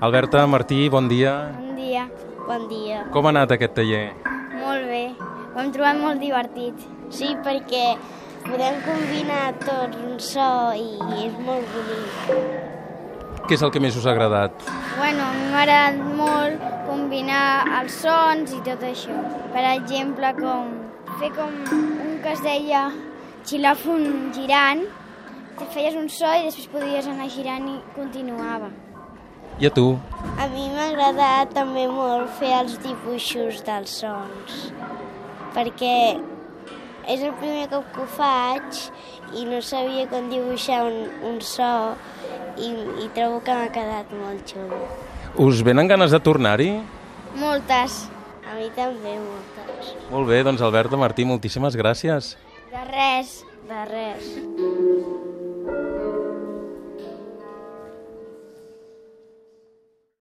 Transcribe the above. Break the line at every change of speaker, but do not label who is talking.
Alberta, Martí, bon dia.
Bon dia. Bon dia.
Com ha anat aquest taller?
Molt bé. Ho hem trobat molt divertit. Sí, perquè podem combinar tot un so i és molt bonic.
Què és el que més us ha agradat?
Bueno, a mi m'ha agradat molt combinar els sons i tot això. Per exemple, com fer com un que es deia xilòfon girant, te feies un so i després podies anar girant i continuava.
I a tu?
A mi m'ha agradat també molt fer els dibuixos dels sons, perquè és el primer cop que ho faig i no sabia com dibuixar un, un so i, i trobo que m'ha quedat molt xulo.
Us venen ganes de tornar-hi?
Moltes. A mi també, moltes.
Molt bé, doncs Alberta, Martí, moltíssimes gràcies.
De res. De res.